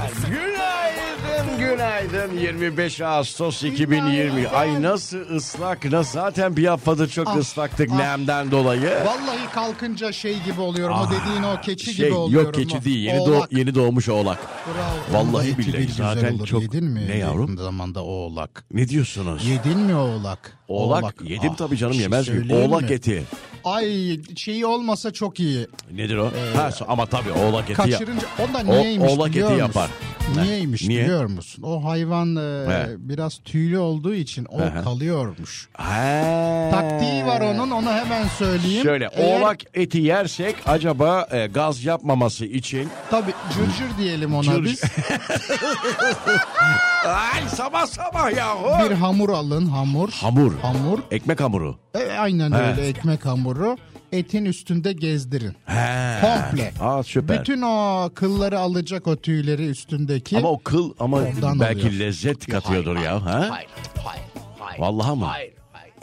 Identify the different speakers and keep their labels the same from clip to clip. Speaker 1: Evet. Günaydın, günaydın. 25 Ağustos 2020. Ay nasıl ıslak. Nasıl? Zaten bir haftada çok
Speaker 2: Ah,
Speaker 1: ıslaktık
Speaker 2: ah.
Speaker 1: nemden dolayı.
Speaker 2: Vallahi kalkınca şey gibi oluyorum. o dediğin o keçi
Speaker 1: Şey,
Speaker 2: gibi oluyorum.
Speaker 1: yok keçi
Speaker 2: o.
Speaker 1: değil. Yeni, doğ-
Speaker 2: Oğlak.
Speaker 1: yeni doğmuş oğlak.
Speaker 2: Bravo.
Speaker 1: Vallahi
Speaker 2: Oğlak eti
Speaker 1: billahi
Speaker 2: bir güzel
Speaker 1: zaten
Speaker 2: olur.
Speaker 1: çok-
Speaker 2: Yedin mi?
Speaker 1: Ne yavrum?
Speaker 2: Yakın zamanda oğlak.
Speaker 1: Ne diyorsunuz?
Speaker 2: Yedin mi oğlak?
Speaker 1: Oğlak, yedim
Speaker 2: Ah,
Speaker 1: tabii canım
Speaker 2: bir şey
Speaker 1: yemez miyim?
Speaker 2: söyleyeyim
Speaker 1: Oğlak
Speaker 2: mi?
Speaker 1: eti.
Speaker 2: Ay şeyi olmasa çok iyi.
Speaker 1: Nedir o?
Speaker 2: Ee,
Speaker 1: ha, so- ama tabii oğlak eti. ya-
Speaker 2: Kaçırınca ondan
Speaker 1: O-
Speaker 2: niyeymiş
Speaker 1: oğlak eti
Speaker 2: biliyor musun?
Speaker 1: yapar. Ne?
Speaker 2: Niyeymiş
Speaker 1: Niye?
Speaker 2: biliyor musun? O hayvan e,
Speaker 1: He.
Speaker 2: biraz tüylü olduğu için o
Speaker 1: Aha.
Speaker 2: kalıyormuş.
Speaker 1: Ha.
Speaker 2: Taktiği var onun onu hemen söyleyeyim.
Speaker 1: Şöyle
Speaker 2: Eğer-
Speaker 1: oğlak eti yersek acaba e, gaz yapmaması için
Speaker 2: Tabii cırcır diyelim ona
Speaker 1: Cırcır.
Speaker 2: biz.
Speaker 1: Ay sabah sabah yahu.
Speaker 2: Bir hamur alın hamur.
Speaker 1: Hamur.
Speaker 2: Hamur.
Speaker 1: Ekmek hamuru.
Speaker 2: E, aynen
Speaker 1: He.
Speaker 2: öyle ekmek hamuru. Etin üstünde gezdirin.
Speaker 1: He.
Speaker 2: Komple.
Speaker 1: Aa süper.
Speaker 2: Bütün o kılları alacak o tüyleri üstündeki.
Speaker 1: Ama o kıl ama
Speaker 2: Ondan
Speaker 1: belki
Speaker 2: oluyor.
Speaker 1: lezzet katıyordur ya. Ha?
Speaker 3: Hayır, hayır, hayır.
Speaker 1: Vallahi mi?
Speaker 3: Hayır, hayır.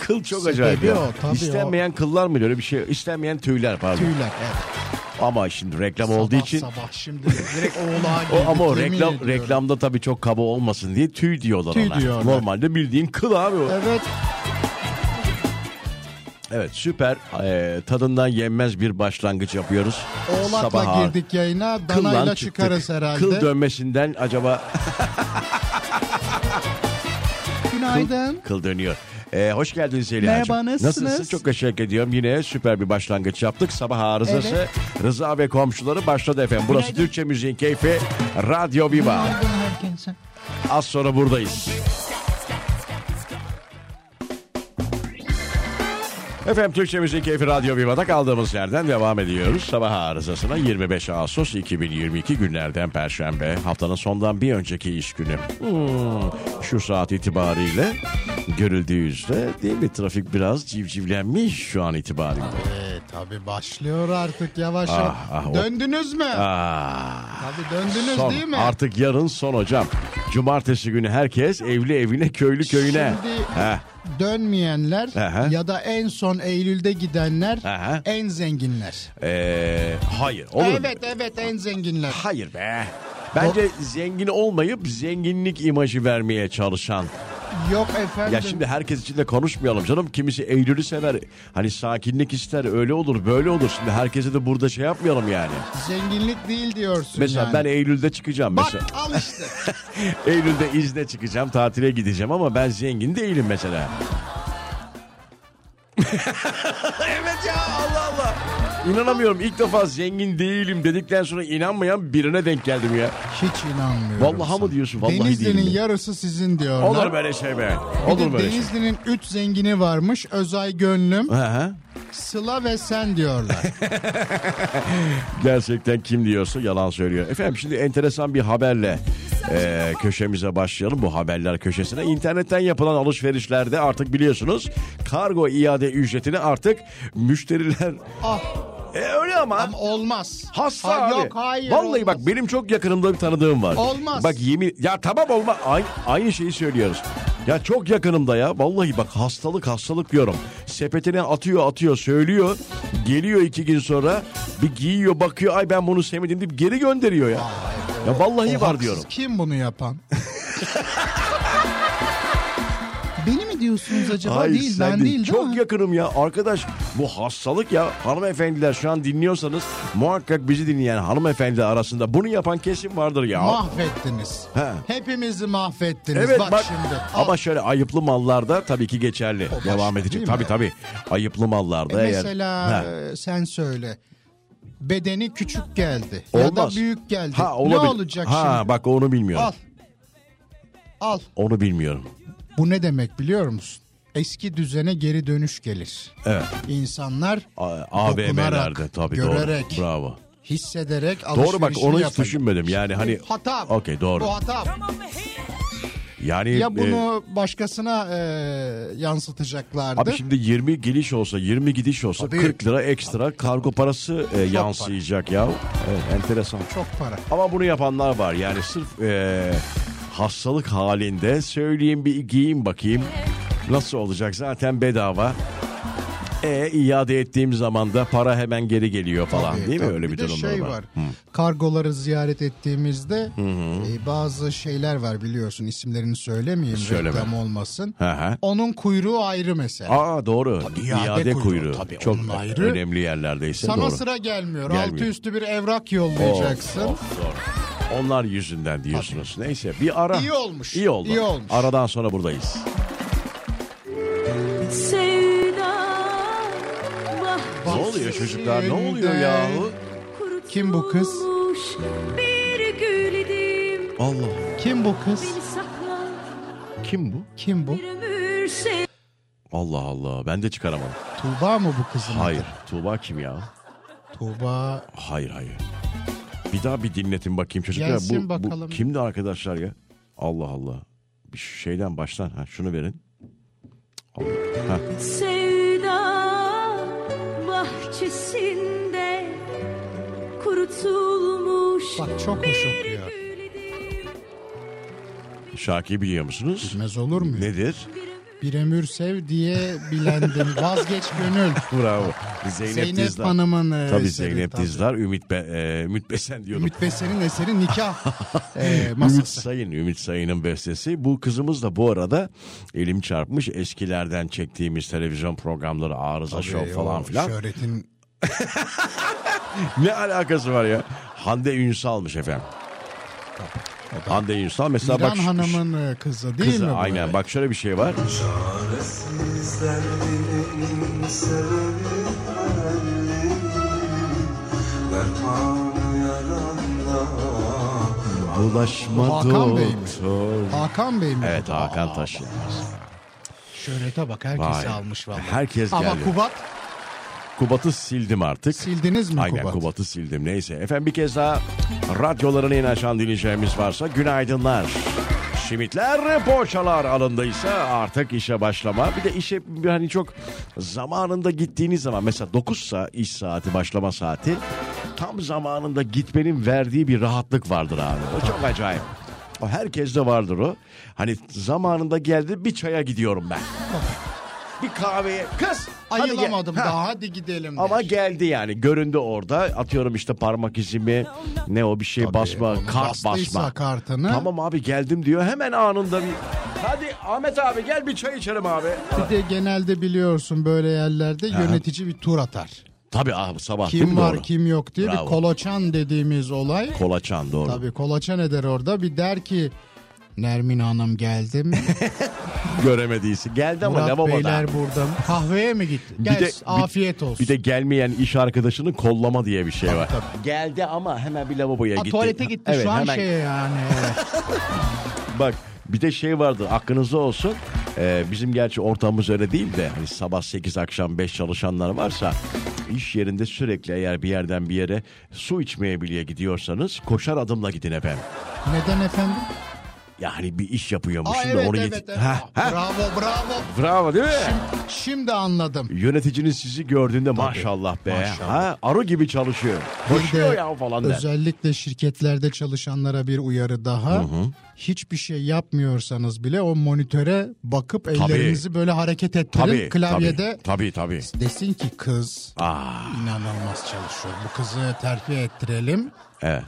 Speaker 1: Kıl çok
Speaker 2: Sebebi
Speaker 1: acayip. ya.
Speaker 2: o, tabii
Speaker 1: İstenmeyen kıllar mı öyle bir şey? İstenmeyen tüyler pardon.
Speaker 2: tüyler. Evet.
Speaker 1: Ama şimdi reklam olduğu
Speaker 2: Sabah
Speaker 1: için
Speaker 2: sabah şimdi direkt oğlağa
Speaker 1: o,
Speaker 2: girdik,
Speaker 1: ama o
Speaker 2: yemin
Speaker 1: reklam
Speaker 2: ediyorum.
Speaker 1: reklamda tabii çok kaba olmasın diye tüy diyorlar
Speaker 2: Tüy
Speaker 1: ona.
Speaker 2: diyorlar.
Speaker 1: Normalde bildiğin kıl abi o.
Speaker 2: Evet
Speaker 1: Evet süper Ee, tadından yenmez bir başlangıç yapıyoruz.
Speaker 2: oğlakla
Speaker 1: Sabah
Speaker 2: girdik yayına
Speaker 1: Kıldan
Speaker 2: danayla
Speaker 1: çıktık.
Speaker 2: çıkarız herhalde.
Speaker 1: Kıl dönmesinden acaba
Speaker 2: Günaydın.
Speaker 1: kıl dönüyor. Ee, hoş geldiniz Zeliha'cığım.
Speaker 2: Merhaba, nasılsınız?
Speaker 1: Çok teşekkür ediyorum. Yine süper bir başlangıç yaptık. Sabah arızası Rıza ve komşuları başladı efendim. Burası Türkçe Müziğin Keyfi Radyo Viva. Az sonra buradayız. Efendim Türkçe Müzik Keyfi Radyo Viva'da kaldığımız yerden devam ediyoruz. Sabah arızasına 25 Ağustos 2022 günlerden Perşembe. Haftanın sondan bir önceki iş günü. Hmm, şu saat itibariyle görüldüğü üzere değil mi trafik biraz civcivlenmiş şu an itibariyle.
Speaker 2: Ee, tabii başlıyor artık yavaş yavaş.
Speaker 1: Ah, ah, o-
Speaker 2: döndünüz mü?
Speaker 1: Aa,
Speaker 2: Tabii döndünüz
Speaker 1: son.
Speaker 2: değil mi?
Speaker 1: Artık yarın son hocam. Cumartesi günü herkes evli evine köylü köyüne.
Speaker 2: Şimdi-
Speaker 1: Heh.
Speaker 2: Dönmeyenler
Speaker 1: Aha.
Speaker 2: ya da en son Eylül'de gidenler
Speaker 1: Aha.
Speaker 2: en zenginler.
Speaker 1: Ee, hayır. Olur mu?
Speaker 2: evet evet en zenginler.
Speaker 1: Hayır be. Bence zengin olmayıp zenginlik imajı vermeye çalışan.
Speaker 2: Yok efendim.
Speaker 1: Ya şimdi herkes için de konuşmayalım canım. Kimisi Eylül'ü sever. Hani sakinlik ister. Öyle olur böyle olur. Şimdi herkese de burada şey yapmayalım yani.
Speaker 2: Zenginlik değil diyorsun
Speaker 1: Mesela
Speaker 2: yani.
Speaker 1: ben Eylül'de çıkacağım.
Speaker 2: Bak
Speaker 1: Mesela
Speaker 2: al işte.
Speaker 1: Eylül'de izne çıkacağım. Tatile gideceğim ama ben zengin değilim mesela. evet ya Allah Allah. İnanamıyorum ilk defa zengin değilim dedikten sonra inanmayan birine denk geldim ya.
Speaker 2: Hiç inanmıyorum.
Speaker 1: Vallaha
Speaker 2: sana.
Speaker 1: mı diyorsun? Vallahi
Speaker 2: Denizli'nin
Speaker 1: değilim.
Speaker 2: yarısı sizin diyorlar.
Speaker 1: Olur böyle şey be.
Speaker 2: Bir
Speaker 1: Olur
Speaker 2: de
Speaker 1: böyle şey.
Speaker 2: Denizli'nin üç zengini varmış. Özay Gönlüm,
Speaker 1: Hı hı.
Speaker 2: Sıla ve sen diyorlar.
Speaker 1: Gerçekten kim diyorsa yalan söylüyor. Efendim şimdi enteresan bir haberle e, köşemize başlayalım bu haberler köşesine. İnternetten yapılan alışverişlerde artık biliyorsunuz kargo iade ücretini artık müşteriler...
Speaker 2: ah
Speaker 1: E, öyle ama...
Speaker 2: ama olmaz.
Speaker 1: Hasta
Speaker 2: Ha,
Speaker 1: abi.
Speaker 2: Yok hayır.
Speaker 1: Vallahi
Speaker 2: olmaz.
Speaker 1: bak benim çok yakınımda bir tanıdığım var.
Speaker 2: Olmaz.
Speaker 1: Bak yemin ya tamam olma aynı, aynı şeyi söylüyoruz. Ya çok yakınımda ya vallahi bak hastalık hastalık diyorum. Sepetine atıyor atıyor söylüyor. Geliyor iki gün sonra bir giyiyor bakıyor ay ben bunu sevmedim deyip geri gönderiyor ya. Ya vallahi var
Speaker 2: O haksız.
Speaker 1: diyorum.
Speaker 2: Kim bunu yapan? Beni mi diyorsunuz acaba?
Speaker 1: Hayır,
Speaker 2: değil
Speaker 1: sen
Speaker 2: ben değil, değil
Speaker 1: Çok
Speaker 2: mi?
Speaker 1: yakınım ya arkadaş. Bu hastalık ya. Hanımefendiler şu an dinliyorsanız muhakkak bizi dinleyen hanımefendi arasında bunu yapan kesin vardır ya.
Speaker 2: Mahvettiniz.
Speaker 1: He.
Speaker 2: Hepimizi mahvettiniz.
Speaker 1: Evet
Speaker 2: bak,
Speaker 1: bak,
Speaker 2: şimdi. Al.
Speaker 1: ama şöyle ayıplı mallarda tabii ki geçerli.
Speaker 2: başka,
Speaker 1: Devam
Speaker 2: değil
Speaker 1: edecek.
Speaker 2: mi?
Speaker 1: Tabii tabii. Ayıplı mallarda eğer.
Speaker 2: E, Mesela
Speaker 1: Ha.
Speaker 2: e, sen söyle. Bedeni küçük geldi. Ya da
Speaker 1: Olmaz.
Speaker 2: büyük geldi.
Speaker 1: Ha,
Speaker 2: ne
Speaker 1: olabilir.
Speaker 2: olacak
Speaker 1: ha,
Speaker 2: şimdi?
Speaker 1: bak onu bilmiyorum.
Speaker 2: Al. Al.
Speaker 1: Onu bilmiyorum.
Speaker 2: Bu ne demek biliyor musun? Eski düzene geri dönüş gelir.
Speaker 1: Evet.
Speaker 2: İnsanlar
Speaker 1: A- AVM'lerde
Speaker 2: dokunarak,
Speaker 1: tabii
Speaker 2: görerek,
Speaker 1: doğru. Bravo.
Speaker 2: hissederek
Speaker 1: Doğru bak
Speaker 2: alışverişini
Speaker 1: onu hiç
Speaker 2: yapar.
Speaker 1: düşünmedim. Yani hani
Speaker 2: Hata. bu.
Speaker 1: Okey doğru.
Speaker 2: Bu hata. bu.
Speaker 1: Yani
Speaker 2: Ya
Speaker 1: e,
Speaker 2: bunu başkasına e, yansıtacaklardı.
Speaker 1: Abi şimdi 20 geliş olsa 20 gidiş olsa
Speaker 2: Tabii.
Speaker 1: 40 lira ekstra kargo parası e, yansıyacak ya. Evet, enteresan.
Speaker 2: Çok para.
Speaker 1: Ama bunu yapanlar var. Yani sırf eee, hastalık halinde söyleyeyim bir giyeyim bakayım. Nasıl olacak zaten bedava. E iade ettiğim zaman da para hemen geri geliyor falan
Speaker 2: Tabii,
Speaker 1: değil mi?
Speaker 2: tabii.
Speaker 1: Öyle bir,
Speaker 2: de
Speaker 1: durumlar
Speaker 2: şey
Speaker 1: var.
Speaker 2: var. Kargoları ziyaret ettiğimizde e, bazı şeyler var biliyorsun isimlerini söylemeyeyim
Speaker 1: Söyleme.
Speaker 2: reklam olmasın.
Speaker 1: Hı hı.
Speaker 2: Onun kuyruğu ayrı mesela.
Speaker 1: Aa doğru.
Speaker 2: Tabii,
Speaker 1: iade,
Speaker 2: iade
Speaker 1: kuyruğu.
Speaker 2: kuyruğu. Tabii,
Speaker 1: Çok
Speaker 2: onun ayrı.
Speaker 1: önemli yerlerdeyse
Speaker 2: Sana
Speaker 1: doğru.
Speaker 2: sıra gelmiyor.
Speaker 1: Gelmiyor.
Speaker 2: Altı üstü bir evrak
Speaker 1: Of,
Speaker 2: yollayacaksın.
Speaker 1: of, doğru. Onlar yüzünden diyorsunuz. Neyse bir ara.
Speaker 2: İyi olmuş,
Speaker 1: İyi oldu.
Speaker 2: iyi olmuş.
Speaker 1: Aradan sonra buradayız.
Speaker 3: Sevda bah
Speaker 1: Ne oluyor çocuklar? Ne oluyor yahu?
Speaker 2: Kim bu kız?
Speaker 3: kurtulmuş Bir güldüm
Speaker 1: Allah.
Speaker 2: Kim bu kız?
Speaker 3: beni saklar
Speaker 1: Kim bu?
Speaker 2: Kim bu?
Speaker 3: bir ömür sev
Speaker 1: Allah Allah. Ben de çıkaramadım.
Speaker 2: Tuğba mı bu kızın? adı?
Speaker 1: Hayır. Tuğba kim ya?
Speaker 2: Tuğba
Speaker 1: Hayır hayır. Bir daha bir dinletin bakayım çocuklar.
Speaker 2: Gelsin
Speaker 1: bu, bu
Speaker 2: bakalım.
Speaker 1: kimdi arkadaşlar ya? Allah Allah. Bir şeyden baştan. Ha, şunu verin. Allah. Ha.
Speaker 3: Sevda bahçesinde kurutulmuş
Speaker 2: bak çok hoş okuyor.
Speaker 3: Güldüm
Speaker 1: Şarkıyı biliyor musunuz?
Speaker 2: Bilmez olur mu?
Speaker 1: Nedir?
Speaker 2: Bir ömür sev diye bilendim. Vazgeç gönül.
Speaker 1: Bravo. Zeynep,
Speaker 2: Zeynep
Speaker 1: Dizdar.
Speaker 2: Hanım'ın e,
Speaker 1: Tabii
Speaker 2: eseri,
Speaker 1: Zeynep
Speaker 2: tabii.
Speaker 1: Dizdar, Ümit, Be, e, Ümit Besen diyordum.
Speaker 2: Ümit Besen'in eseri nikah e,
Speaker 1: Ümit
Speaker 2: masası.
Speaker 1: Sayın, Ümit Sayın'ın bestesi. Bu kızımız da bu arada elim çarpmış eskilerden çektiğimiz televizyon programları Arıza Show
Speaker 2: Ee,
Speaker 1: falan
Speaker 2: o
Speaker 1: filan.
Speaker 2: Şöhretin
Speaker 1: Ne alakası var ya? Hande Ünsal'mış efendim. Hande Ünsal mesela
Speaker 2: İran
Speaker 1: bak şu-
Speaker 2: Hanım'ın e, kızı değil
Speaker 1: kızı
Speaker 2: mi? bu?
Speaker 1: aynen bak şöyle bir şey var.
Speaker 4: Çaresiz derdimin sebebi benim Dermanı yaranla
Speaker 1: Bulaşma
Speaker 2: Hakan Bey mi?
Speaker 1: doktor.
Speaker 2: Hakan Bey mi?
Speaker 1: Evet
Speaker 2: bu?
Speaker 1: Hakan
Speaker 2: Aa,
Speaker 1: Taş Yılmaz.
Speaker 2: Şöhrete bak herkesi
Speaker 1: Vay.
Speaker 2: almış vallahi.
Speaker 1: Herkes
Speaker 2: Ama
Speaker 1: geldi.
Speaker 2: Kubat
Speaker 1: Kubat'ı sildim artık.
Speaker 2: sildiniz mi
Speaker 1: Aynen
Speaker 2: Kubat?
Speaker 1: Kubat'ı sildim. Neyse efendim bir kez daha radyolarını yeni açan dinleyeceğimiz varsa günaydınlar. Simitler, poğaçalar alındıysa artık işe başlama. Bir de işe hani çok zamanında gittiğiniz zaman mesela 9 sa iş saati başlama saati tam zamanında gitmenin verdiği bir rahatlık vardır abi. O çok acayip. O herkeste vardır o. Hani zamanında geldi bir çaya gidiyorum ben.
Speaker 2: Oh.
Speaker 1: Bir kahveye kız hadi gel.
Speaker 2: Ayılamadım
Speaker 1: Ha,
Speaker 2: daha hadi gidelim. der.
Speaker 1: ama geldi yani göründü orada atıyorum işte parmak izimi ne o bir şey basma
Speaker 2: onu
Speaker 1: kart
Speaker 2: bastıysa
Speaker 1: basma.
Speaker 2: kartını.
Speaker 1: Tamam abi geldim diyor hemen anında bir hadi Ahmet abi gel bir çay içelim abi.
Speaker 2: Bir de genelde biliyorsun böyle yerlerde yönetici bir tur atar.
Speaker 1: Tabii abi sabah değil
Speaker 2: Kim
Speaker 1: mi
Speaker 2: var
Speaker 1: doğru?
Speaker 2: kim yok diye
Speaker 1: Bravo.
Speaker 2: bir kolaçan dediğimiz olay.
Speaker 1: Kolaçan doğru.
Speaker 2: Tabii kolaçan eder orada bir der ki Nermin Hanım geldi mi?
Speaker 1: Göremediyse geldi ama
Speaker 2: Murat
Speaker 1: lavaboda.
Speaker 2: Beyler burada mı? Kahveye mi gitti?
Speaker 1: Bir
Speaker 2: Gel
Speaker 1: de- bir-
Speaker 2: afiyet olsun.
Speaker 1: Bir de gelmeyen iş arkadaşının kollama diye bir şey var.
Speaker 2: tabii.
Speaker 1: Geldi ama hemen bir lavaboya
Speaker 2: Ha,
Speaker 1: gitti.
Speaker 2: tuvalete gitti
Speaker 1: Evet,
Speaker 2: şu an
Speaker 1: hemen
Speaker 2: şey şeye yani.
Speaker 1: Bak bir de şey vardı aklınızda olsun. Ee, bizim gerçi ortamımız öyle değil de hani sabah 8 akşam 5 çalışanlar varsa iş yerinde sürekli eğer bir yerden bir yere su içmeye bile gidiyorsanız koşar adımla gidin efendim.
Speaker 2: Neden efendim?
Speaker 1: Yani bir iş yapıyormuşsun
Speaker 2: Aa,
Speaker 1: da
Speaker 2: evet
Speaker 1: onu
Speaker 2: evet.
Speaker 1: yet-
Speaker 2: evet.
Speaker 1: Ha, ha.
Speaker 2: Bravo bravo.
Speaker 1: Bravo değil mi?
Speaker 2: Şimdi anladım.
Speaker 1: Yöneticiniz sizi gördüğünde maşallah be.
Speaker 2: maşallah.
Speaker 1: Ha, arı gibi çalışıyor.
Speaker 2: Bir
Speaker 1: Koşuyor
Speaker 2: de
Speaker 1: ya falan der.
Speaker 2: Özellikle şirketlerde çalışanlara bir uyarı daha. Hiçbir şey yapmıyorsanız bile o monitöre bakıp ellerinizi böyle hareket ettirin.
Speaker 1: Tabii,
Speaker 2: Klavyede
Speaker 1: Tabii Ah. tabii. tabii.
Speaker 2: desin ki kız
Speaker 1: Aa,
Speaker 2: inanılmaz çalışıyor. Bu kızı terfi ettirelim.
Speaker 1: evet.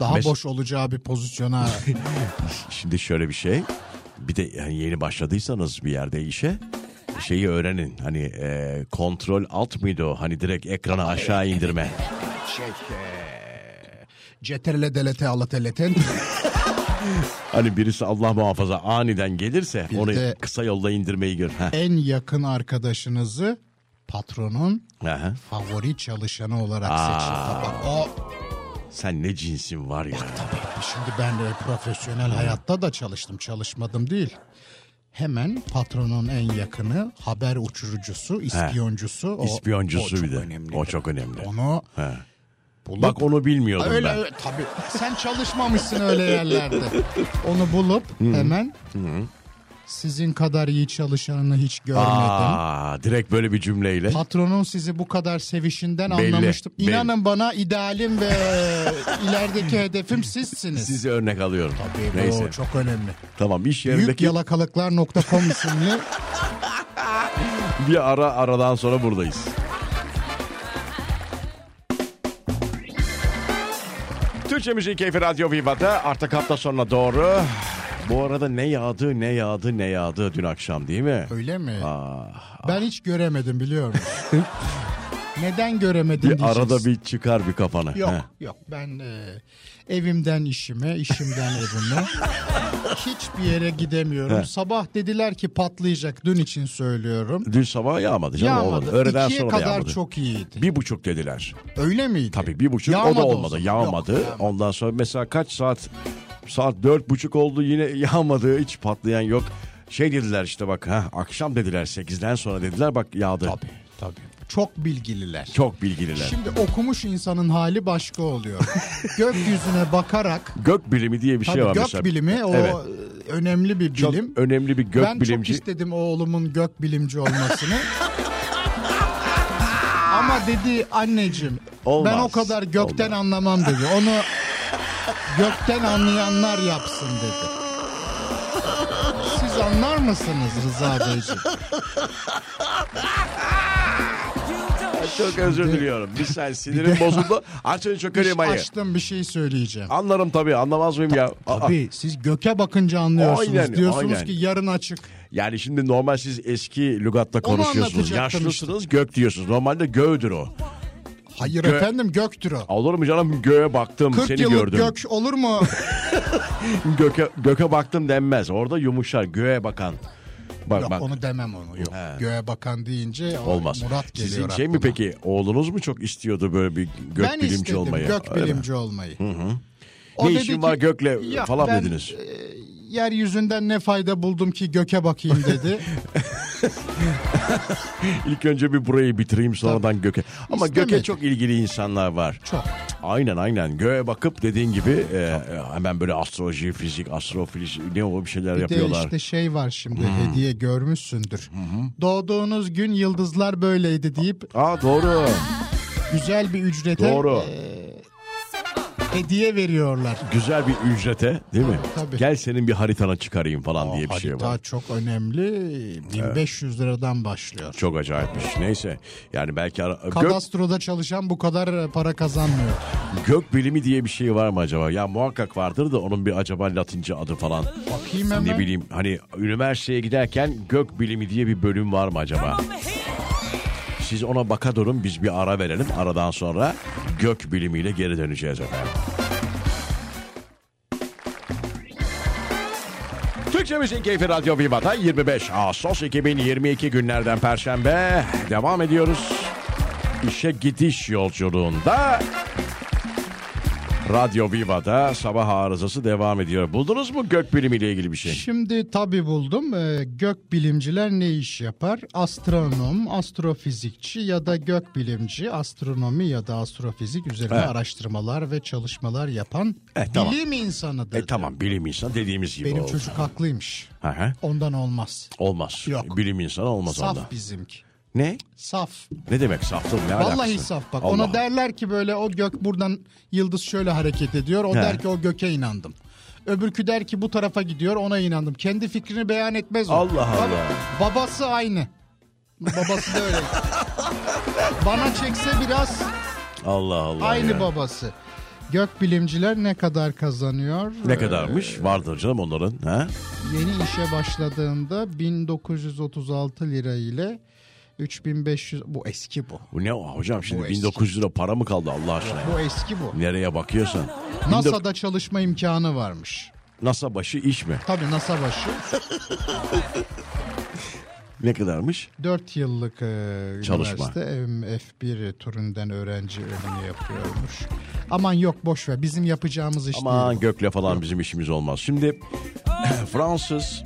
Speaker 2: Daha
Speaker 1: Mes-
Speaker 2: boş olacağı bir pozisyona
Speaker 1: Şimdi şöyle bir şey. Bir de yani yeni başladıysanız bir yerde işe şeyi öğrenin. Hani e, kontrol alt mıydı o? Hani direkt ekranı aşağı indirme.
Speaker 2: şey Ceterle delete alateleten.
Speaker 1: Hani birisi Allah muhafaza aniden gelirse
Speaker 2: Bir
Speaker 1: onu
Speaker 2: de-
Speaker 1: kısa yolla indirmeyi gör. Heh.
Speaker 2: en yakın arkadaşınızı patronun
Speaker 1: Aha.
Speaker 2: favori çalışanı olarak seçin. Bak o
Speaker 1: Sen ne cinsin var ya.
Speaker 2: tabii şimdi ben de profesyonel hayatta da çalıştım çalışmadım değil. Hemen patronun en yakını haber uçurucusu, ispiyoncusu. O,
Speaker 1: İspiyoncusu
Speaker 2: o çok
Speaker 1: bir de.
Speaker 2: önemli.
Speaker 1: O çok önemli.
Speaker 2: Onu bulup
Speaker 1: Bak onu bilmiyordum
Speaker 2: Öyle
Speaker 1: ben.
Speaker 2: öyle, tabii. Sen çalışmamışsın öyle yerlerde. Onu bulup hemen sizin kadar iyi çalışanını hiç görmedim.
Speaker 1: Aa, direkt böyle bir cümleyle.
Speaker 2: Patronun sizi bu kadar sevişinden
Speaker 1: Belli,
Speaker 2: anlamıştım.
Speaker 1: belli.
Speaker 2: İnanın bana idealim ve ilerideki hedefim sizsiniz.
Speaker 1: Sizi örnek alıyorum.
Speaker 2: Tabii bu
Speaker 1: Neyse.
Speaker 2: çok önemli.
Speaker 1: Tamam iş
Speaker 2: Büyük
Speaker 1: yerindeki
Speaker 2: yalakalıklar.com isimli
Speaker 1: Bir ara aradan sonra buradayız. Türkçe Müziği Keyfi Radyo Viva'da artık hafta sonuna doğru. Bu arada ne yağdı ne yağdı ne yağdı dün akşam değil mi?
Speaker 2: Öyle mi?
Speaker 1: Ah,
Speaker 2: ben hiç göremedim biliyor musun? Neden göremedim
Speaker 1: Bir
Speaker 2: diyeceksin.
Speaker 1: arada bir çıkar bir kafana.
Speaker 2: Yok
Speaker 1: Heh.
Speaker 2: yok ben e, evimden işime, işimden evime hiçbir yere gidemiyorum.
Speaker 1: He.
Speaker 2: Sabah dediler ki patlayacak dün için söylüyorum.
Speaker 1: Dün sabah yağmadı canım
Speaker 2: Yağmadı.
Speaker 1: olmadı. Öğleden
Speaker 2: İkiye
Speaker 1: sonra da
Speaker 2: kadar
Speaker 1: yağmadı.
Speaker 2: çok iyiydi.
Speaker 1: Bir buçuk dediler.
Speaker 2: Öyle miydi?
Speaker 1: Tabii bir buçuk o
Speaker 2: Yağmadı
Speaker 1: da
Speaker 2: o
Speaker 1: olmadı.
Speaker 2: zaman.
Speaker 1: yağmadı.
Speaker 2: Yok, yağmadı.
Speaker 1: Ondan sonra mesela kaç saat saat dört buçuk oldu yine yağmadı. Hiç patlayan yok. Şey dediler işte bak ha akşam dediler sekizden sonra dediler bak yağdı.
Speaker 2: Tabii tabii. Çok bilgililer.
Speaker 1: Çok bilgililer.
Speaker 2: Şimdi okumuş insanın hali başka oluyor. Gökyüzüne bakarak
Speaker 1: Gök bilimi diye bir
Speaker 2: tabii
Speaker 1: şey var
Speaker 2: gök
Speaker 1: mesela.
Speaker 2: bilimi o
Speaker 1: Evet.
Speaker 2: e, önemli bir
Speaker 1: Çok
Speaker 2: bilim.
Speaker 1: önemli bir gök
Speaker 2: ben
Speaker 1: bilimci.
Speaker 2: çok istedim oğlumun gök bilimci olmasını. Ama dedi anneciğim
Speaker 1: Olmaz,
Speaker 2: ben o kadar gökten
Speaker 1: olmaz."
Speaker 2: anlamam dedi. Onu gökten anlayanlar yapsın dedi. Siz anlar mısınız Rıza Beyciğim?
Speaker 1: Çok özür diliyorum. Bir saniye sinirim bozuldu. Açın şu klimayı.
Speaker 2: Açtım bir şey söyleyeceğim.
Speaker 1: Anlarım tabii anlamaz mıyım ya? Aa,
Speaker 2: Abi siz göke bakınca anlıyorsunuz.
Speaker 1: Aynen,
Speaker 2: Diyorsunuz
Speaker 1: aynen.
Speaker 2: ki yarın açık.
Speaker 1: Yani şimdi normal siz eski lügatta konuşuyorsunuz.
Speaker 2: anlatacaktım
Speaker 1: Yaşlısınız gök diyorsunuz. Normalde göğdür o.
Speaker 2: Hayır
Speaker 1: Gö-
Speaker 2: efendim göktür o.
Speaker 1: Olur mu canım göğe baktım
Speaker 2: 40
Speaker 1: seni
Speaker 2: yıllık
Speaker 1: gördüm.
Speaker 2: gök olur mu?
Speaker 1: Göke, göke baktım denmez. Orada yumuşar göğe bakan. Bak
Speaker 2: Yok
Speaker 1: bak.
Speaker 2: onu demem onu. Yok.
Speaker 1: He.
Speaker 2: Göğe bakan deyince o
Speaker 1: Olmaz.
Speaker 2: Murat geliyor
Speaker 1: Sizin şey mi
Speaker 2: aklıma.
Speaker 1: peki oğlunuz mu çok istiyordu böyle bir gök
Speaker 2: ben
Speaker 1: bilimci
Speaker 2: istedim
Speaker 1: olmayı?
Speaker 2: gök
Speaker 1: Öyle mi?
Speaker 2: bilimci olmayı.
Speaker 1: Ne
Speaker 2: dedi
Speaker 1: işin
Speaker 2: ki,
Speaker 1: var gökle
Speaker 2: "Ya
Speaker 1: falan
Speaker 2: ben,
Speaker 1: dediniz.
Speaker 2: e, yeryüzünden ne fayda buldum ki göke bakayım dedi.
Speaker 1: İlk önce bir burayı bitireyim sonradan göke. Ama
Speaker 2: İstemedi.
Speaker 1: göke çok ilgili insanlar var.
Speaker 2: Çok.
Speaker 1: Aynen aynen. Göğe bakıp dediğin gibi e, e, hemen böyle astroloji, fizik, astrofizik ne o bir şeyler
Speaker 2: Bir de
Speaker 1: yapıyorlar.
Speaker 2: işte şey var şimdi hediye görmüşsündür. Doğduğunuz gün yıldızlar böyleydi deyip
Speaker 1: Aa doğru.
Speaker 2: güzel bir ücrete
Speaker 1: Doğru.
Speaker 2: e, hediye veriyorlar.
Speaker 1: Güzel bir ücrete değil mi?
Speaker 2: Tabii.
Speaker 1: Gel senin bir haritana çıkarayım falan diye bir şey
Speaker 2: Harita
Speaker 1: var.
Speaker 2: çok önemli. 1500 liradan başlıyor.
Speaker 1: Çok acayipmiş. Neyse. Yani belki ara- gök,
Speaker 2: Kadastroda çalışan bu kadar para kazanmıyor.
Speaker 1: gök bilimi diye bir şey var mı acaba? Ya muhakkak vardır da onun bir acaba latince adı falan.
Speaker 2: Bakayım hemen.
Speaker 1: Ne bileyim hani üniversiteye giderken gök bilimi diye bir bölüm var mı acaba? Siz ona baka durun biz bir ara verelim. Aradan sonra gök bilimiyle geri döneceğiz efendim. Türkçe Müzik Keyfi Radyo Viva'da 25 Ağustos 2022 günlerden Perşembe devam ediyoruz. İşe gidiş yolculuğunda Radyo Viva'da sabah arızası devam ediyor. Buldunuz mu gök bilimiyle ilgili bir şey?
Speaker 2: Şimdi tabi buldum. Ee, gök bilimciler ne iş yapar? Astronom, astrofizikçi ya da gök bilimci, astronomi ya da astrofizik üzerine
Speaker 1: Evet.
Speaker 2: araştırmalar ve çalışmalar yapan
Speaker 1: E, tamam.
Speaker 2: bilim insanıdır.
Speaker 1: E tamam bilim insanı dediğimiz gibi
Speaker 2: Benim
Speaker 1: oldu.
Speaker 2: çocuk haklıymış.
Speaker 1: Hı hı.
Speaker 2: Ondan olmaz.
Speaker 1: Olmaz. E,
Speaker 2: Yok.
Speaker 1: Bilim insanı olmaz
Speaker 2: Saf
Speaker 1: onda.
Speaker 2: bizimki.
Speaker 1: Ne?
Speaker 2: Saf.
Speaker 1: Ne demek saftır? Ne
Speaker 2: Vallahi
Speaker 1: alakası?
Speaker 2: saf bak.
Speaker 1: Allah
Speaker 2: Ona
Speaker 1: Allah.
Speaker 2: derler ki böyle o gök buradan yıldız şöyle hareket ediyor. O
Speaker 1: He.
Speaker 2: der ki o göke inandım. Öbürkü der ki bu tarafa gidiyor ona inandım. Kendi fikrini beyan etmez o.
Speaker 1: Allah
Speaker 2: Baba-
Speaker 1: Allah.
Speaker 2: babası aynı. Babası da öyle. Bana çekse biraz
Speaker 1: Allah Allah.
Speaker 2: aynı
Speaker 1: ya.
Speaker 2: babası. Gök bilimciler ne kadar kazanıyor?
Speaker 1: Ne kadarmış? Vardır canım onların. Ha?
Speaker 2: Yeni işe başladığında 1936 lira ile 3500 bu eski bu.
Speaker 1: Bu ne hocam şimdi
Speaker 2: Bu eski.
Speaker 1: 1900 lira para mı kaldı Allah aşkına? ya?
Speaker 2: Bu eski bu.
Speaker 1: Nereye bakıyorsan.
Speaker 2: NASA'da çalışma imkanı varmış.
Speaker 1: NASA başı iş mi?
Speaker 2: Tabii NASA başı
Speaker 1: Ne kadarmış?
Speaker 2: 4 yıllık e,
Speaker 1: Çalışma.
Speaker 2: üniversite em, F1 türünden öğrenci ölümü yapıyormuş. Aman yok boş ver bizim yapacağımız iş
Speaker 1: Aman
Speaker 2: değil.
Speaker 1: gökle falan bizim işimiz olmaz. Şimdi Fransız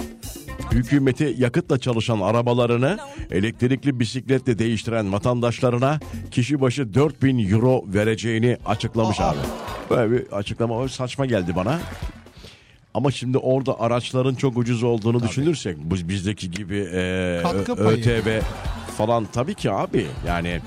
Speaker 1: hükümeti yakıtla çalışan arabalarını elektrikli bisikletle değiştiren vatandaşlarına kişi başı 4000 euro vereceğini açıklamış abi. Böyle bir açıklama o saçma geldi bana. Ama şimdi orada araçların çok ucuz olduğunu düşünürsek biz bizdeki gibi e,
Speaker 2: Katkı
Speaker 1: Ö-
Speaker 2: payı.
Speaker 1: ÖTV falan tabii ki abi yani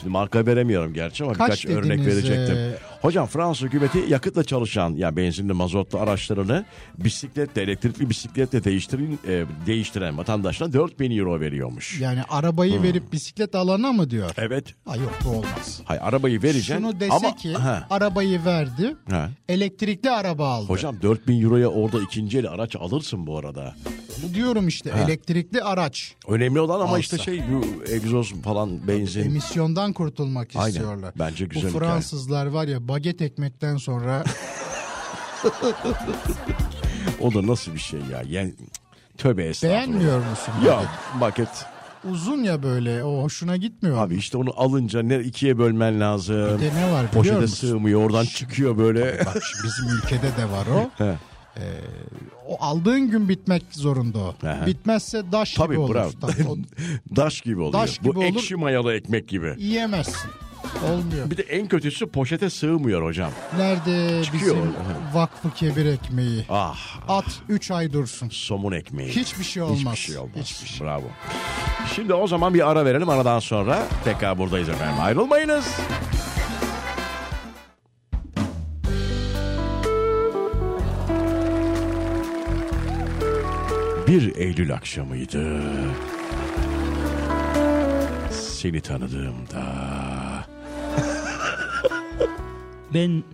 Speaker 1: Şimdi marka veremiyorum gerçi ama
Speaker 2: Kaç
Speaker 1: birkaç örnek
Speaker 2: dediniz,
Speaker 1: verecektim.
Speaker 2: e,
Speaker 1: Hocam Fransız hükümeti yakıtla çalışan ya benzinli mazotlu araçlarını bisikletle elektrikli bisikletle değiştirin, e, değiştiren vatandaşlara 4000 euro veriyormuş.
Speaker 2: Yani arabayı
Speaker 1: Hmm.
Speaker 2: verip bisiklet alana mı diyor?
Speaker 1: Evet.
Speaker 2: Ha yok bu olmaz.
Speaker 1: Hayır arabayı vereceksin
Speaker 2: Şunu dese
Speaker 1: ama
Speaker 2: ki
Speaker 1: Ha.
Speaker 2: arabayı verdi.
Speaker 1: Ha.
Speaker 2: Elektrikli araba aldı.
Speaker 1: Hocam 4000 euroya orada ikinci el araç alırsın bu arada.
Speaker 2: Bunu diyorum işte elektrikli araç.
Speaker 1: Önemli olan ama
Speaker 2: Alsa.
Speaker 1: işte şey bu egzoz falan benzin.
Speaker 2: Emisyondan kurtulmak
Speaker 1: Aynen.
Speaker 2: istiyorlar.
Speaker 1: Bence güzel
Speaker 2: Bu
Speaker 1: hikaye.
Speaker 2: Fransızlar var ya baget ekmekten sonra
Speaker 1: O da nasıl bir şey ya? Yani, tövbe estağfurullah.
Speaker 2: beğenmiyor musun?
Speaker 1: Ya
Speaker 2: baget?
Speaker 1: paket.
Speaker 2: Uzun ya böyle o hoşuna gitmiyor.
Speaker 1: Abi işte onu alınca ne ikiye bölmen lazım.
Speaker 2: Bir de ne var biliyor
Speaker 1: Poşete
Speaker 2: musun?
Speaker 1: sığmıyor oradan çıkıyor böyle.
Speaker 2: Bak şimdi bizim ülkede de var o.
Speaker 1: He.
Speaker 2: Ee, o aldığın gün bitmek zorunda o.
Speaker 1: Aha.
Speaker 2: Bitmezse daş
Speaker 1: Tabii
Speaker 2: gibi olur.
Speaker 1: bravo.
Speaker 2: Tabii, o-
Speaker 1: Daş gibi oluyor.
Speaker 2: Daş gibi
Speaker 1: Bu
Speaker 2: olur.
Speaker 1: ekşi mayalı ekmek gibi.
Speaker 2: yiyemezsin. Olmuyor.
Speaker 1: Bir de en kötüsü poşete sığmıyor hocam.
Speaker 2: Nerede
Speaker 1: Çıkıyor.
Speaker 2: bizim vakfı kebir ekmeği?
Speaker 1: Ah
Speaker 2: At 3 ay dursun.
Speaker 1: somun ekmeği.
Speaker 2: Hiçbir şey
Speaker 1: Hiçbir
Speaker 2: olmaz.
Speaker 1: şey olmaz.
Speaker 2: Hiçbir şey.
Speaker 1: Bravo. Şimdi o zaman bir ara verelim. Aradan sonra tekrar buradayız efendim. Ayrılmayınız. Bir Eylül akşamıydı. Seni tanıdığımda
Speaker 5: Ben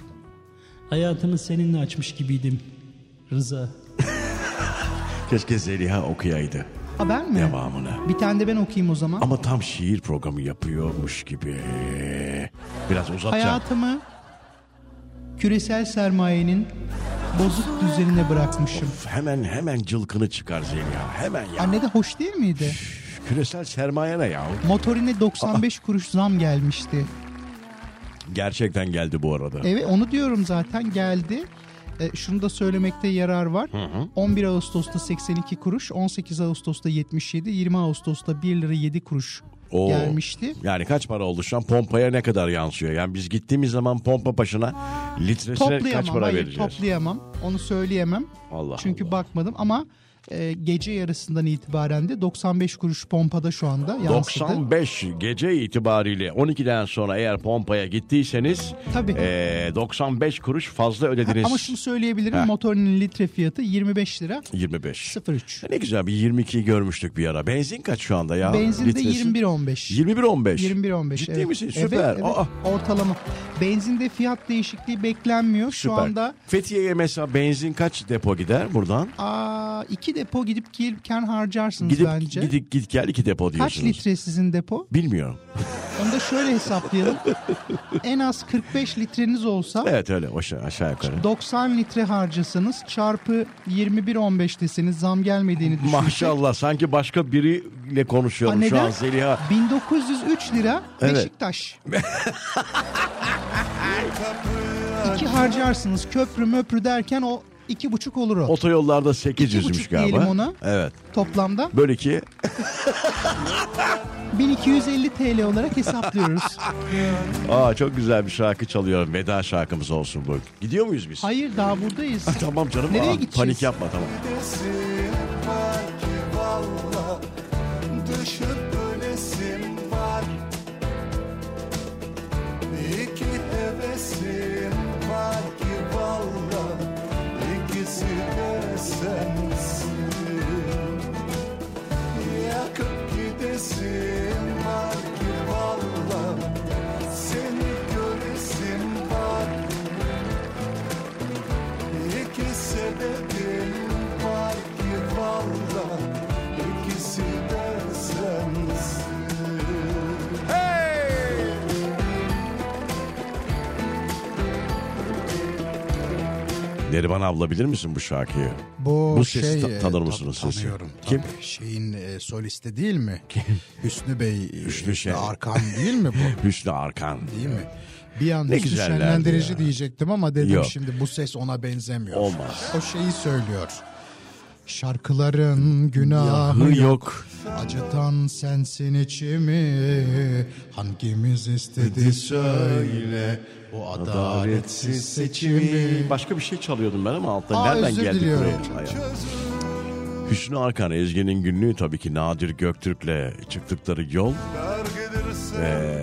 Speaker 5: hayatımı seninle açmış gibiydim. Rıza.
Speaker 1: keşke Zeliha okuyaydı
Speaker 2: Ha ben mi?
Speaker 1: devamını.
Speaker 2: Bir tane de ben okuyayım o zaman.
Speaker 1: Ama tam şiir programı yapıyormuş gibi. Biraz uzatacağım.
Speaker 5: Hayatımı küresel sermayenin bozuk düzenine bırakmışım.
Speaker 1: Hemen hemen cılkını çıkar Zeliha. Hemen ya.
Speaker 5: Anne de hoş değil miydi?
Speaker 1: Küresel sermaye ne ya?
Speaker 5: Motorine 95 kuruş zam gelmişti.
Speaker 1: Gerçekten geldi bu arada.
Speaker 5: Evet onu diyorum zaten geldi. E, şunu da söylemekte yarar var. 11 Ağustos'ta 82 kuruş, 18 Ağustos'ta 77, 20 Ağustos'ta 1 lira 7 kuruş
Speaker 1: Oo.
Speaker 5: gelmişti.
Speaker 1: Yani kaç para oldu şu an pompaya ne kadar yansıyor? Yani biz gittiğimiz zaman pompa başına litresine
Speaker 5: Toplayamam,
Speaker 1: kaç para
Speaker 5: hayır
Speaker 1: vereceğiz?
Speaker 5: toplayamam. Onu söyleyemem.
Speaker 1: Allah
Speaker 5: Çünkü
Speaker 1: Allah.
Speaker 5: bakmadım ama e, gece yarısından itibaren de 95 kuruş pompada şu anda yansıdı.
Speaker 1: 95 gece itibariyle 12'den sonra eğer pompaya gittiyseniz
Speaker 5: Tabii.
Speaker 1: eee, 95 kuruş fazla
Speaker 5: Ha,
Speaker 1: ödediniz.
Speaker 5: Ama şunu söyleyebilirim
Speaker 1: Ha.
Speaker 5: motorinin litre fiyatı 25 lira
Speaker 1: 25.
Speaker 5: 03.
Speaker 1: E Ne güzel bir 22'yi görmüştük bir ara. Benzin kaç şu anda ya?
Speaker 5: Benzinde
Speaker 1: Litresi?
Speaker 5: 21.15.
Speaker 1: 21.15.
Speaker 5: 21.15.
Speaker 1: Ciddi
Speaker 5: evet.
Speaker 1: misin?
Speaker 5: Evet,
Speaker 1: Süper.
Speaker 5: evet.
Speaker 1: Aa,
Speaker 5: Ortalama. Benzinde fiyat değişikliği beklenmiyor. Şu
Speaker 1: süper.
Speaker 5: anda
Speaker 1: Fethiye'ye mesela benzin kaç depo gider buradan?
Speaker 5: aa, iki depo gidip gelirken harcarsınız
Speaker 1: Gidip
Speaker 5: bence.
Speaker 1: gidip git gel iki depo
Speaker 5: Kaç
Speaker 1: diyorsunuz.
Speaker 5: litre sizin depo?
Speaker 1: Bilmiyorum.
Speaker 5: Onu da şöyle hesaplayalım. en az 45 litreniz olsa
Speaker 1: Evet öyle aşağı, aşağı yukarı.
Speaker 5: 90 litre harcasanız çarpı 21.15 deseniz zam gelmediğini düşünün.
Speaker 1: Maşallah sanki başka biriyle konuşuyorum şu an Zeliha.
Speaker 5: 1903 lira
Speaker 1: Evet.
Speaker 5: Beşiktaş. İki harcarsınız köprü möprü derken o iki buçuk olur o.
Speaker 1: Otoyollarda
Speaker 5: İki
Speaker 1: 800'müş
Speaker 5: buçuk
Speaker 1: galiba.
Speaker 5: diyelim ona.
Speaker 1: Evet.
Speaker 5: Toplamda
Speaker 1: Böl iki.
Speaker 5: 1250 TL olarak hesaplıyoruz.
Speaker 1: Aa çok güzel bir şarkı çalıyorum. Veda şarkımız olsun bu. Gidiyor muyuz biz?
Speaker 5: Hayır daha buradayız.
Speaker 1: Tamam canım.
Speaker 5: Nereye
Speaker 1: Aa,
Speaker 5: gideceğiz?
Speaker 1: Panik yapma tamam.
Speaker 4: Ölesim var ki valla Düşüp ölesim var İki hevesim var ki valla İkisi de sensin Yakıp gidesim var ki valla Seni göresim var İki sebebim var ki valla ikisi de sensin. Hey!
Speaker 1: Neriman abla bilir misin bu şarkıyı?
Speaker 2: Bu,
Speaker 1: Bu sesi
Speaker 2: şey,
Speaker 1: ta-
Speaker 2: e,
Speaker 1: tanır
Speaker 2: tab-
Speaker 1: mısınız sesi?
Speaker 2: Tanıyorum.
Speaker 1: Kim?
Speaker 2: Kim? Şeyin e, solisti değil mi? Hüsnü Bey. e,
Speaker 1: Hüsnü Şen.
Speaker 2: Arkan değil mi bu?
Speaker 1: Hüsnü Arkan.
Speaker 2: Değil mi? Bir an
Speaker 1: Ne
Speaker 2: Hüsnü
Speaker 1: güzellerdi
Speaker 2: Şenlendirici
Speaker 1: ya.
Speaker 2: diyecektim ama dedim
Speaker 1: Yok.
Speaker 2: şimdi bu ses ona benzemiyor.
Speaker 1: Olmaz.
Speaker 2: O şeyi söylüyor. Şarkıların günahı
Speaker 1: Hı yok.
Speaker 2: Acıtan sensin içimi Hangimiz istedi söyle Bu adaletsiz seçimi
Speaker 1: Başka bir şey çalıyordum ben ama alttan
Speaker 2: Aa,
Speaker 1: nereden
Speaker 2: özür
Speaker 1: geldi
Speaker 2: diliyorum.
Speaker 1: buraya? Hayır. Hüsnü Arkan, Ezgi'nin günlüğü tabii ki Nadir Göktürk'le çıktıkları yol
Speaker 4: Dar gelirse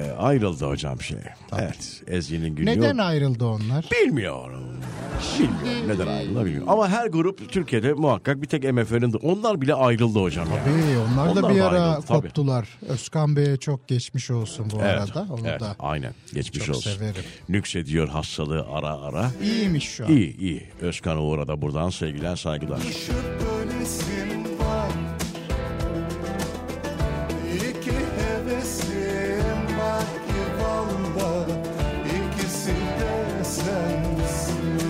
Speaker 1: ee, ayrıldı hocam şey. Evet, Ezgi'nin günlüğü.
Speaker 2: Neden ayrıldı onlar?
Speaker 1: Bilmiyorum. Bilmiyorum neden ayrıldı bilmiyorum. Ama her grup Türkiye'de muhakkak bir tek MF'nin de onlar bile ayrıldı hocam. yani.
Speaker 2: Ee, onlar,
Speaker 1: Onlar
Speaker 2: da bir
Speaker 1: da
Speaker 2: ara
Speaker 1: ayrıldı, tabii.
Speaker 2: koptular. Özkan Bey'e çok geçmiş olsun bu arada. Onu
Speaker 1: evet,
Speaker 2: da
Speaker 1: aynen. Geçmiş
Speaker 2: çok
Speaker 1: olsun.
Speaker 2: severim.
Speaker 1: Nüksediyor hastalığı ara ara.
Speaker 2: iyiymiş şu an.
Speaker 1: İyi iyi. Özkan Uğur'a da buradan sevgiler saygılar.
Speaker 4: düşüp dönesim var İki hevesim var ki valla İkisi de sensin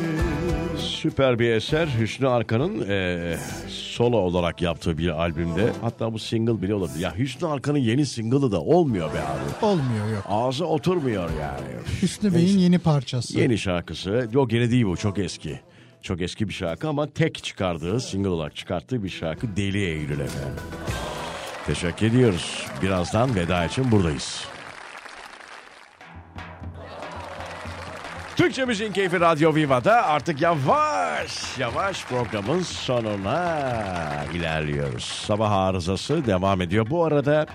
Speaker 1: Süper bir eser. Hüsnü Arkan'ın eee, solo olarak yaptığı bir albümde. Hatta bu single bile olabilir. Ya Hüsnü Arkan'ın yeni single'ı da olmuyor be abi.
Speaker 2: Olmuyor yok.
Speaker 1: Ağza oturmuyor yani.
Speaker 2: Hüsnü Bey'in yeni parçası.
Speaker 1: Yeni şarkısı. Yok yeni değil bu çok eski. Çok eski bir şarkı ama tek çıkardığı, single olarak çıkarttığı bir şarkı Deli Eylül efendim. Teşekkür ediyoruz. Birazdan veda için buradayız. Türkçe Müziğin Keyfi Radyo Viva'da artık yavaş yavaş programın sonuna ilerliyoruz. Sabah arızası devam ediyor. Bu arada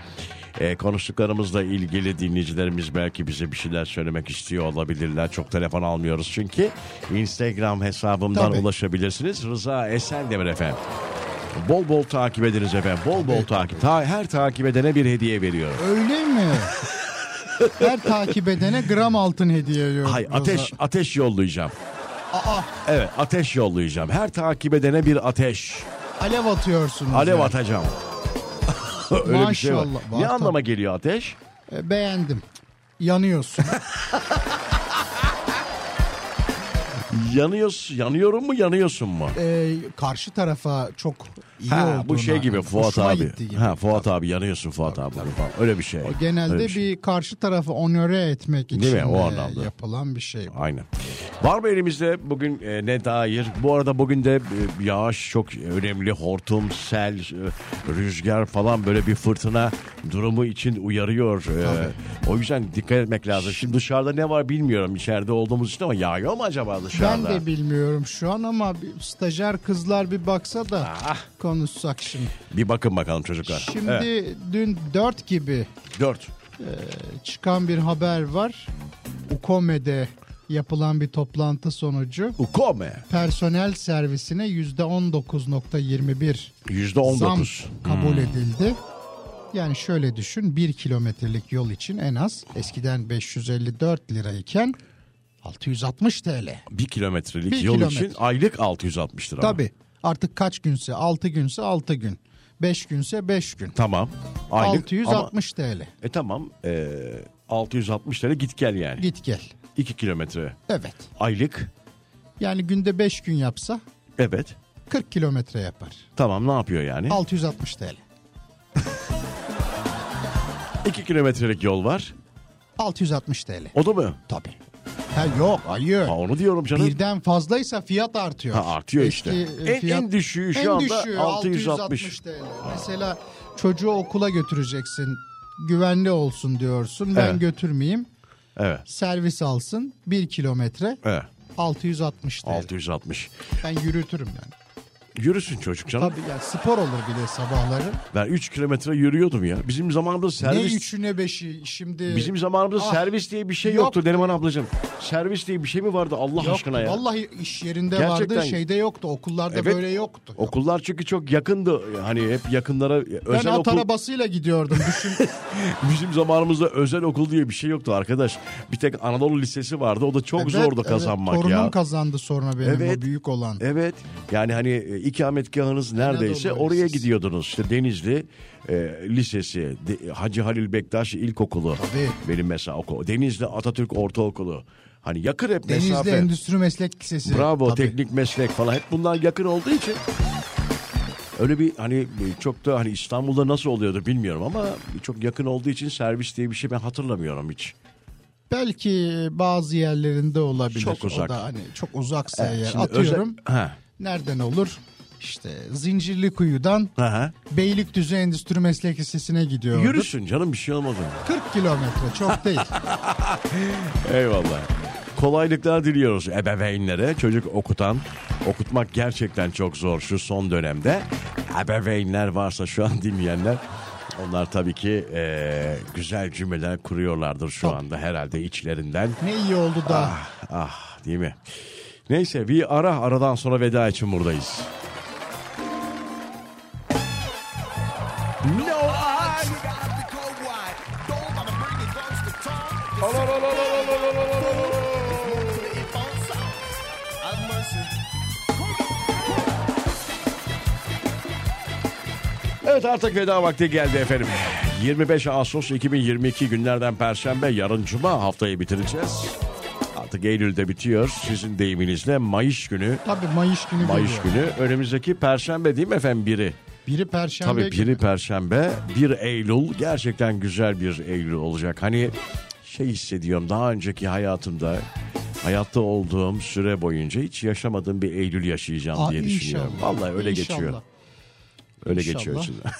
Speaker 1: e, konuştuklarımızla ilgili dinleyicilerimiz belki bize bir şeyler söylemek istiyor olabilirler. Çok telefon almıyoruz çünkü. Instagram hesabımdan
Speaker 2: Tabii.
Speaker 1: ulaşabilirsiniz. Rıza Esendemir efendim. Bol bol takip ediniz efendim. Bol bol takip. Ta- her takip edene bir hediye veriyorum.
Speaker 2: Öyle mi? Her takip edene gram altın hediye ediyor.
Speaker 1: Hay
Speaker 2: Rıza.
Speaker 1: ateş ateş yollayacağım.
Speaker 2: Aa,
Speaker 1: Evet ateş yollayacağım. Her takip edene bir ateş.
Speaker 2: alev atıyorsunuz.
Speaker 1: Alev
Speaker 2: yani.
Speaker 1: atacağım. Öyle bir şey var.
Speaker 2: Maşallah, var
Speaker 1: Ne
Speaker 2: tabii.
Speaker 1: anlama geliyor ateş?
Speaker 2: E, Beğendim. Yanıyorsun.
Speaker 1: Yanıyorsun, yanıyorum mu yanıyorsun mu?
Speaker 2: E, karşı tarafa çok iyi
Speaker 1: Ha,
Speaker 2: olduğuna.
Speaker 1: bu şey gibi Fuat
Speaker 2: hoşuma
Speaker 1: abi.
Speaker 2: gittiği gibi.
Speaker 1: Ha Fuat abi yanıyorsun Fuat abi falan. Öyle bir şey.
Speaker 2: O genelde
Speaker 1: Öyle
Speaker 2: bir,
Speaker 1: şey.
Speaker 2: karşı tarafı onöre etmek için
Speaker 1: Değil mi? O
Speaker 2: e,
Speaker 1: anlamda.
Speaker 2: yapılan bir şey.
Speaker 1: Aynen. Var mı elimizde bugün e, ne dair? Bu arada bugün de e, yağış çok önemli. Hortum, sel, e, rüzgar falan böyle bir fırtına durumu için uyarıyor. E, o yüzden dikkat etmek lazım. Şimdi dışarıda ne var bilmiyorum. İçeride olduğumuz için ama yağıyor mu acaba
Speaker 2: Ben
Speaker 1: dışarıda?
Speaker 2: de bilmiyorum şu an ama bir stajyer kızlar bir baksa da konuşsak şimdi.
Speaker 1: Bir bakın bakalım çocuklar.
Speaker 2: Şimdi
Speaker 1: Ah. Evet,
Speaker 2: dün 4 gibi
Speaker 1: dört.
Speaker 2: çıkan bir haber var. Ukome'de yapılan bir toplantı sonucu
Speaker 1: Ukome.
Speaker 2: personel servisine %19.21
Speaker 1: Yüzde
Speaker 2: zam
Speaker 1: 19.
Speaker 2: kabul edildi. Yani şöyle düşün 1 kilometrelik yol için en az eskiden 554 lirayken 660 TL.
Speaker 1: Bir kilometrelik
Speaker 2: Bir
Speaker 1: yol
Speaker 2: kilometre.
Speaker 1: için aylık 660 lira.
Speaker 2: Tabii artık kaç günse 6 günse 6 gün 5 günse 5 gün
Speaker 1: Tamam. Aylık.
Speaker 2: 660 TL
Speaker 1: Ama, e tamam. E, 660 lira git gel yani.
Speaker 2: git gel.
Speaker 1: 2 kilometre
Speaker 2: Evet
Speaker 1: aylık.
Speaker 2: yani günde 5 gün yapsa
Speaker 1: Evet.
Speaker 2: 40 kilometre yapar.
Speaker 1: Tamam ne yapıyor yani?
Speaker 2: 660 TL.
Speaker 1: 2 kilometrelik yol var.
Speaker 2: 660 TL.
Speaker 1: O da mı?
Speaker 2: Tabii. Ha yok hayır.
Speaker 1: Ha, onu diyorum canım.
Speaker 2: Birden fazlaysa fiyat artıyor.
Speaker 1: Ha, artıyor işte.
Speaker 2: e,
Speaker 1: En- en düşüğü şu
Speaker 2: en
Speaker 1: anda
Speaker 2: düşüğü
Speaker 1: 660
Speaker 2: TL. Mesela çocuğu okula götüreceksin. Güvenli olsun diyorsun. Ben
Speaker 1: Evet.
Speaker 2: götürmeyeyim.
Speaker 1: Evet.
Speaker 2: Servis alsın. 1 kilometre
Speaker 1: Evet.
Speaker 2: 660 TL.
Speaker 1: 660.
Speaker 2: Ben yürütürüm yani.
Speaker 1: Yürüsün çocuk canım.
Speaker 2: Tabii yani spor olur bile sabahları.
Speaker 1: Ben 3 kilometre yürüyordum ya. Bizim zamanımızda servis
Speaker 2: Ne üçüne beşi şimdi.
Speaker 1: Bizim zamanımızda
Speaker 2: Ah,
Speaker 1: servis diye bir şey
Speaker 2: yok.
Speaker 1: yoktu Neriman ablacığım. Servis diye bir şey mi vardı Allah
Speaker 2: Yoktu.
Speaker 1: aşkına ya?
Speaker 2: Vallahi iş yerinde
Speaker 1: Gerçekten.
Speaker 2: vardı, şeyde yoktu, okullarda
Speaker 1: Evet.
Speaker 2: böyle yoktu.
Speaker 1: Okullar çünkü çok yakındı. Hani hep yakınlara
Speaker 2: ben
Speaker 1: özel
Speaker 2: at
Speaker 1: okul.
Speaker 2: arabasıyla gidiyordum. Düşün.
Speaker 1: Bizim zamanımızda özel okul diye bir şey yoktu arkadaş. Bir tek Anadolu Lisesi vardı. O da çok
Speaker 2: Evet,
Speaker 1: zordu
Speaker 2: evet.
Speaker 1: kazanmak
Speaker 2: Torunum
Speaker 1: ya.
Speaker 2: kazandı sonra benim
Speaker 1: Evet. E,
Speaker 2: o büyük olan.
Speaker 1: Evet. Yani hani e, ikametgahınız neredeyse
Speaker 2: Anadolu
Speaker 1: oraya
Speaker 2: Lisesi.
Speaker 1: gidiyordunuz. İşte Denizli e, Lisesi, De- Hacı Halil Bektaş İlkokulu.
Speaker 2: Tabii.
Speaker 1: Benim mesela okul. Denizli Atatürk Ortaokulu. Hani yakın hep
Speaker 2: Denizli
Speaker 1: mesafe.
Speaker 2: Endüstri Meslek Lisesi.
Speaker 1: Bravo
Speaker 2: Tabii.
Speaker 1: teknik meslek falan hep bunlar yakın olduğu için öyle bir hani çok da hani İstanbul'da nasıl oluyordu bilmiyorum ama çok yakın olduğu için servis diye bir şey ben hatırlamıyorum hiç.
Speaker 2: Belki bazı yerlerinde olabilir.
Speaker 1: Çok
Speaker 2: O
Speaker 1: uzak.
Speaker 2: da hani çok uzaksa
Speaker 1: Evet,
Speaker 2: eğer
Speaker 1: şimdi
Speaker 2: atıyorum.
Speaker 1: özel- Ha.
Speaker 2: Nereden olur? İşte Zincirlikuyu'dan
Speaker 1: Hı hı.
Speaker 2: Beylikdüzü Endüstri Meslek Lisesi'ne gidiyordur.
Speaker 1: Yürüsün canım bir şey olmadı.
Speaker 2: 40 kilometre çok değil.
Speaker 1: Eyvallah. Kolaylıklar diliyoruz ebeveynlere çocuk okutan Okutmak gerçekten çok zor şu son dönemde. Ebeveynler varsa şu an dinleyenler onlar tabii ki eee, güzel cümleler kuruyorlardır şu
Speaker 2: Tabii.
Speaker 1: anda herhalde içlerinden.
Speaker 2: Ne iyi oldu da.
Speaker 1: Ah değil mi? Neyse bir ara aradan sonra veda için buradayız. No I- Evet artık veda vakti geldi efendim. 25 Ağustos 2022 günlerden Perşembe yarın Cuma haftayı bitireceğiz. Artık Eylül'de bitiyor. Sizin deyiminizle Mayıs günü.
Speaker 2: Tabii Mayıs günü
Speaker 1: Mayıs
Speaker 2: geliyor.
Speaker 1: günü önümüzdeki Perşembe değil mi efendim biri?
Speaker 2: Biri Perşembe
Speaker 1: Tabii
Speaker 2: günü.
Speaker 1: biri Perşembe 1 Eylül gerçekten güzel bir Eylül olacak. Hani şey hissediyorum daha önceki hayatımda hayatta olduğum süre boyunca hiç yaşamadığım bir Eylül yaşayacağım
Speaker 2: Aa,
Speaker 1: diye düşünüyorum.
Speaker 2: Ah, inşallah.
Speaker 1: Vallahi öyle
Speaker 2: İnşallah.
Speaker 1: geçiyor. Öyle
Speaker 2: İnşallah.
Speaker 1: geçiyor içinden.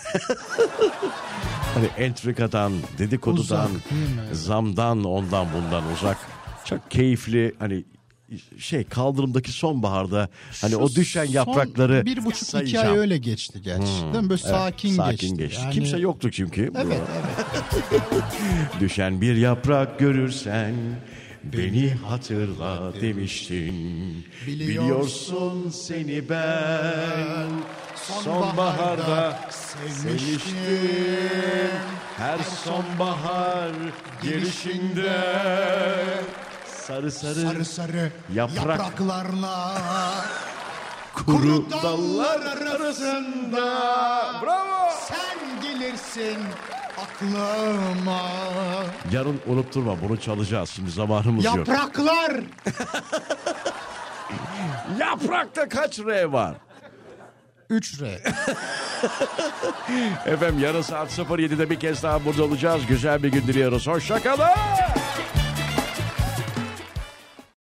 Speaker 1: hani entrikadan, dedikodudan,
Speaker 2: Uzak değil mi?
Speaker 1: zamdan, ondan bundan uzak. Çok keyifli hani şey kaldırımdaki sonbaharda hani
Speaker 2: Şu
Speaker 1: o düşen
Speaker 2: son
Speaker 1: yaprakları
Speaker 2: bir buçuk iki ay
Speaker 1: sayacağım. Hmm,
Speaker 2: öyle geçti geç. Değil mi? Böyle sakin,
Speaker 1: Sakin geçti.
Speaker 2: Yani-
Speaker 1: Kimse yoktu çünkü. burada.
Speaker 2: Evet evet.
Speaker 1: Düşen bir yaprak görürsen beni hatırla demiştin. Biliyorsun seni ben sonbaharda sevmiştim. Her sonbahar gelişinde sarı sarı
Speaker 2: Sarı sarı
Speaker 1: Yaprak.
Speaker 2: yapraklarla
Speaker 1: kuru dallar arasında. Bravo!
Speaker 2: sen gelirsin aklıma.
Speaker 1: Yarın unutturma bunu çalacağız şimdi zamanımız yok.
Speaker 2: Yapraklar.
Speaker 1: Yaprakta kaç R var?
Speaker 2: 3 R.
Speaker 1: Efendim yarın saat 07'de bir kez daha burada olacağız. Güzel bir gün diliyoruz. Hoşçakalın.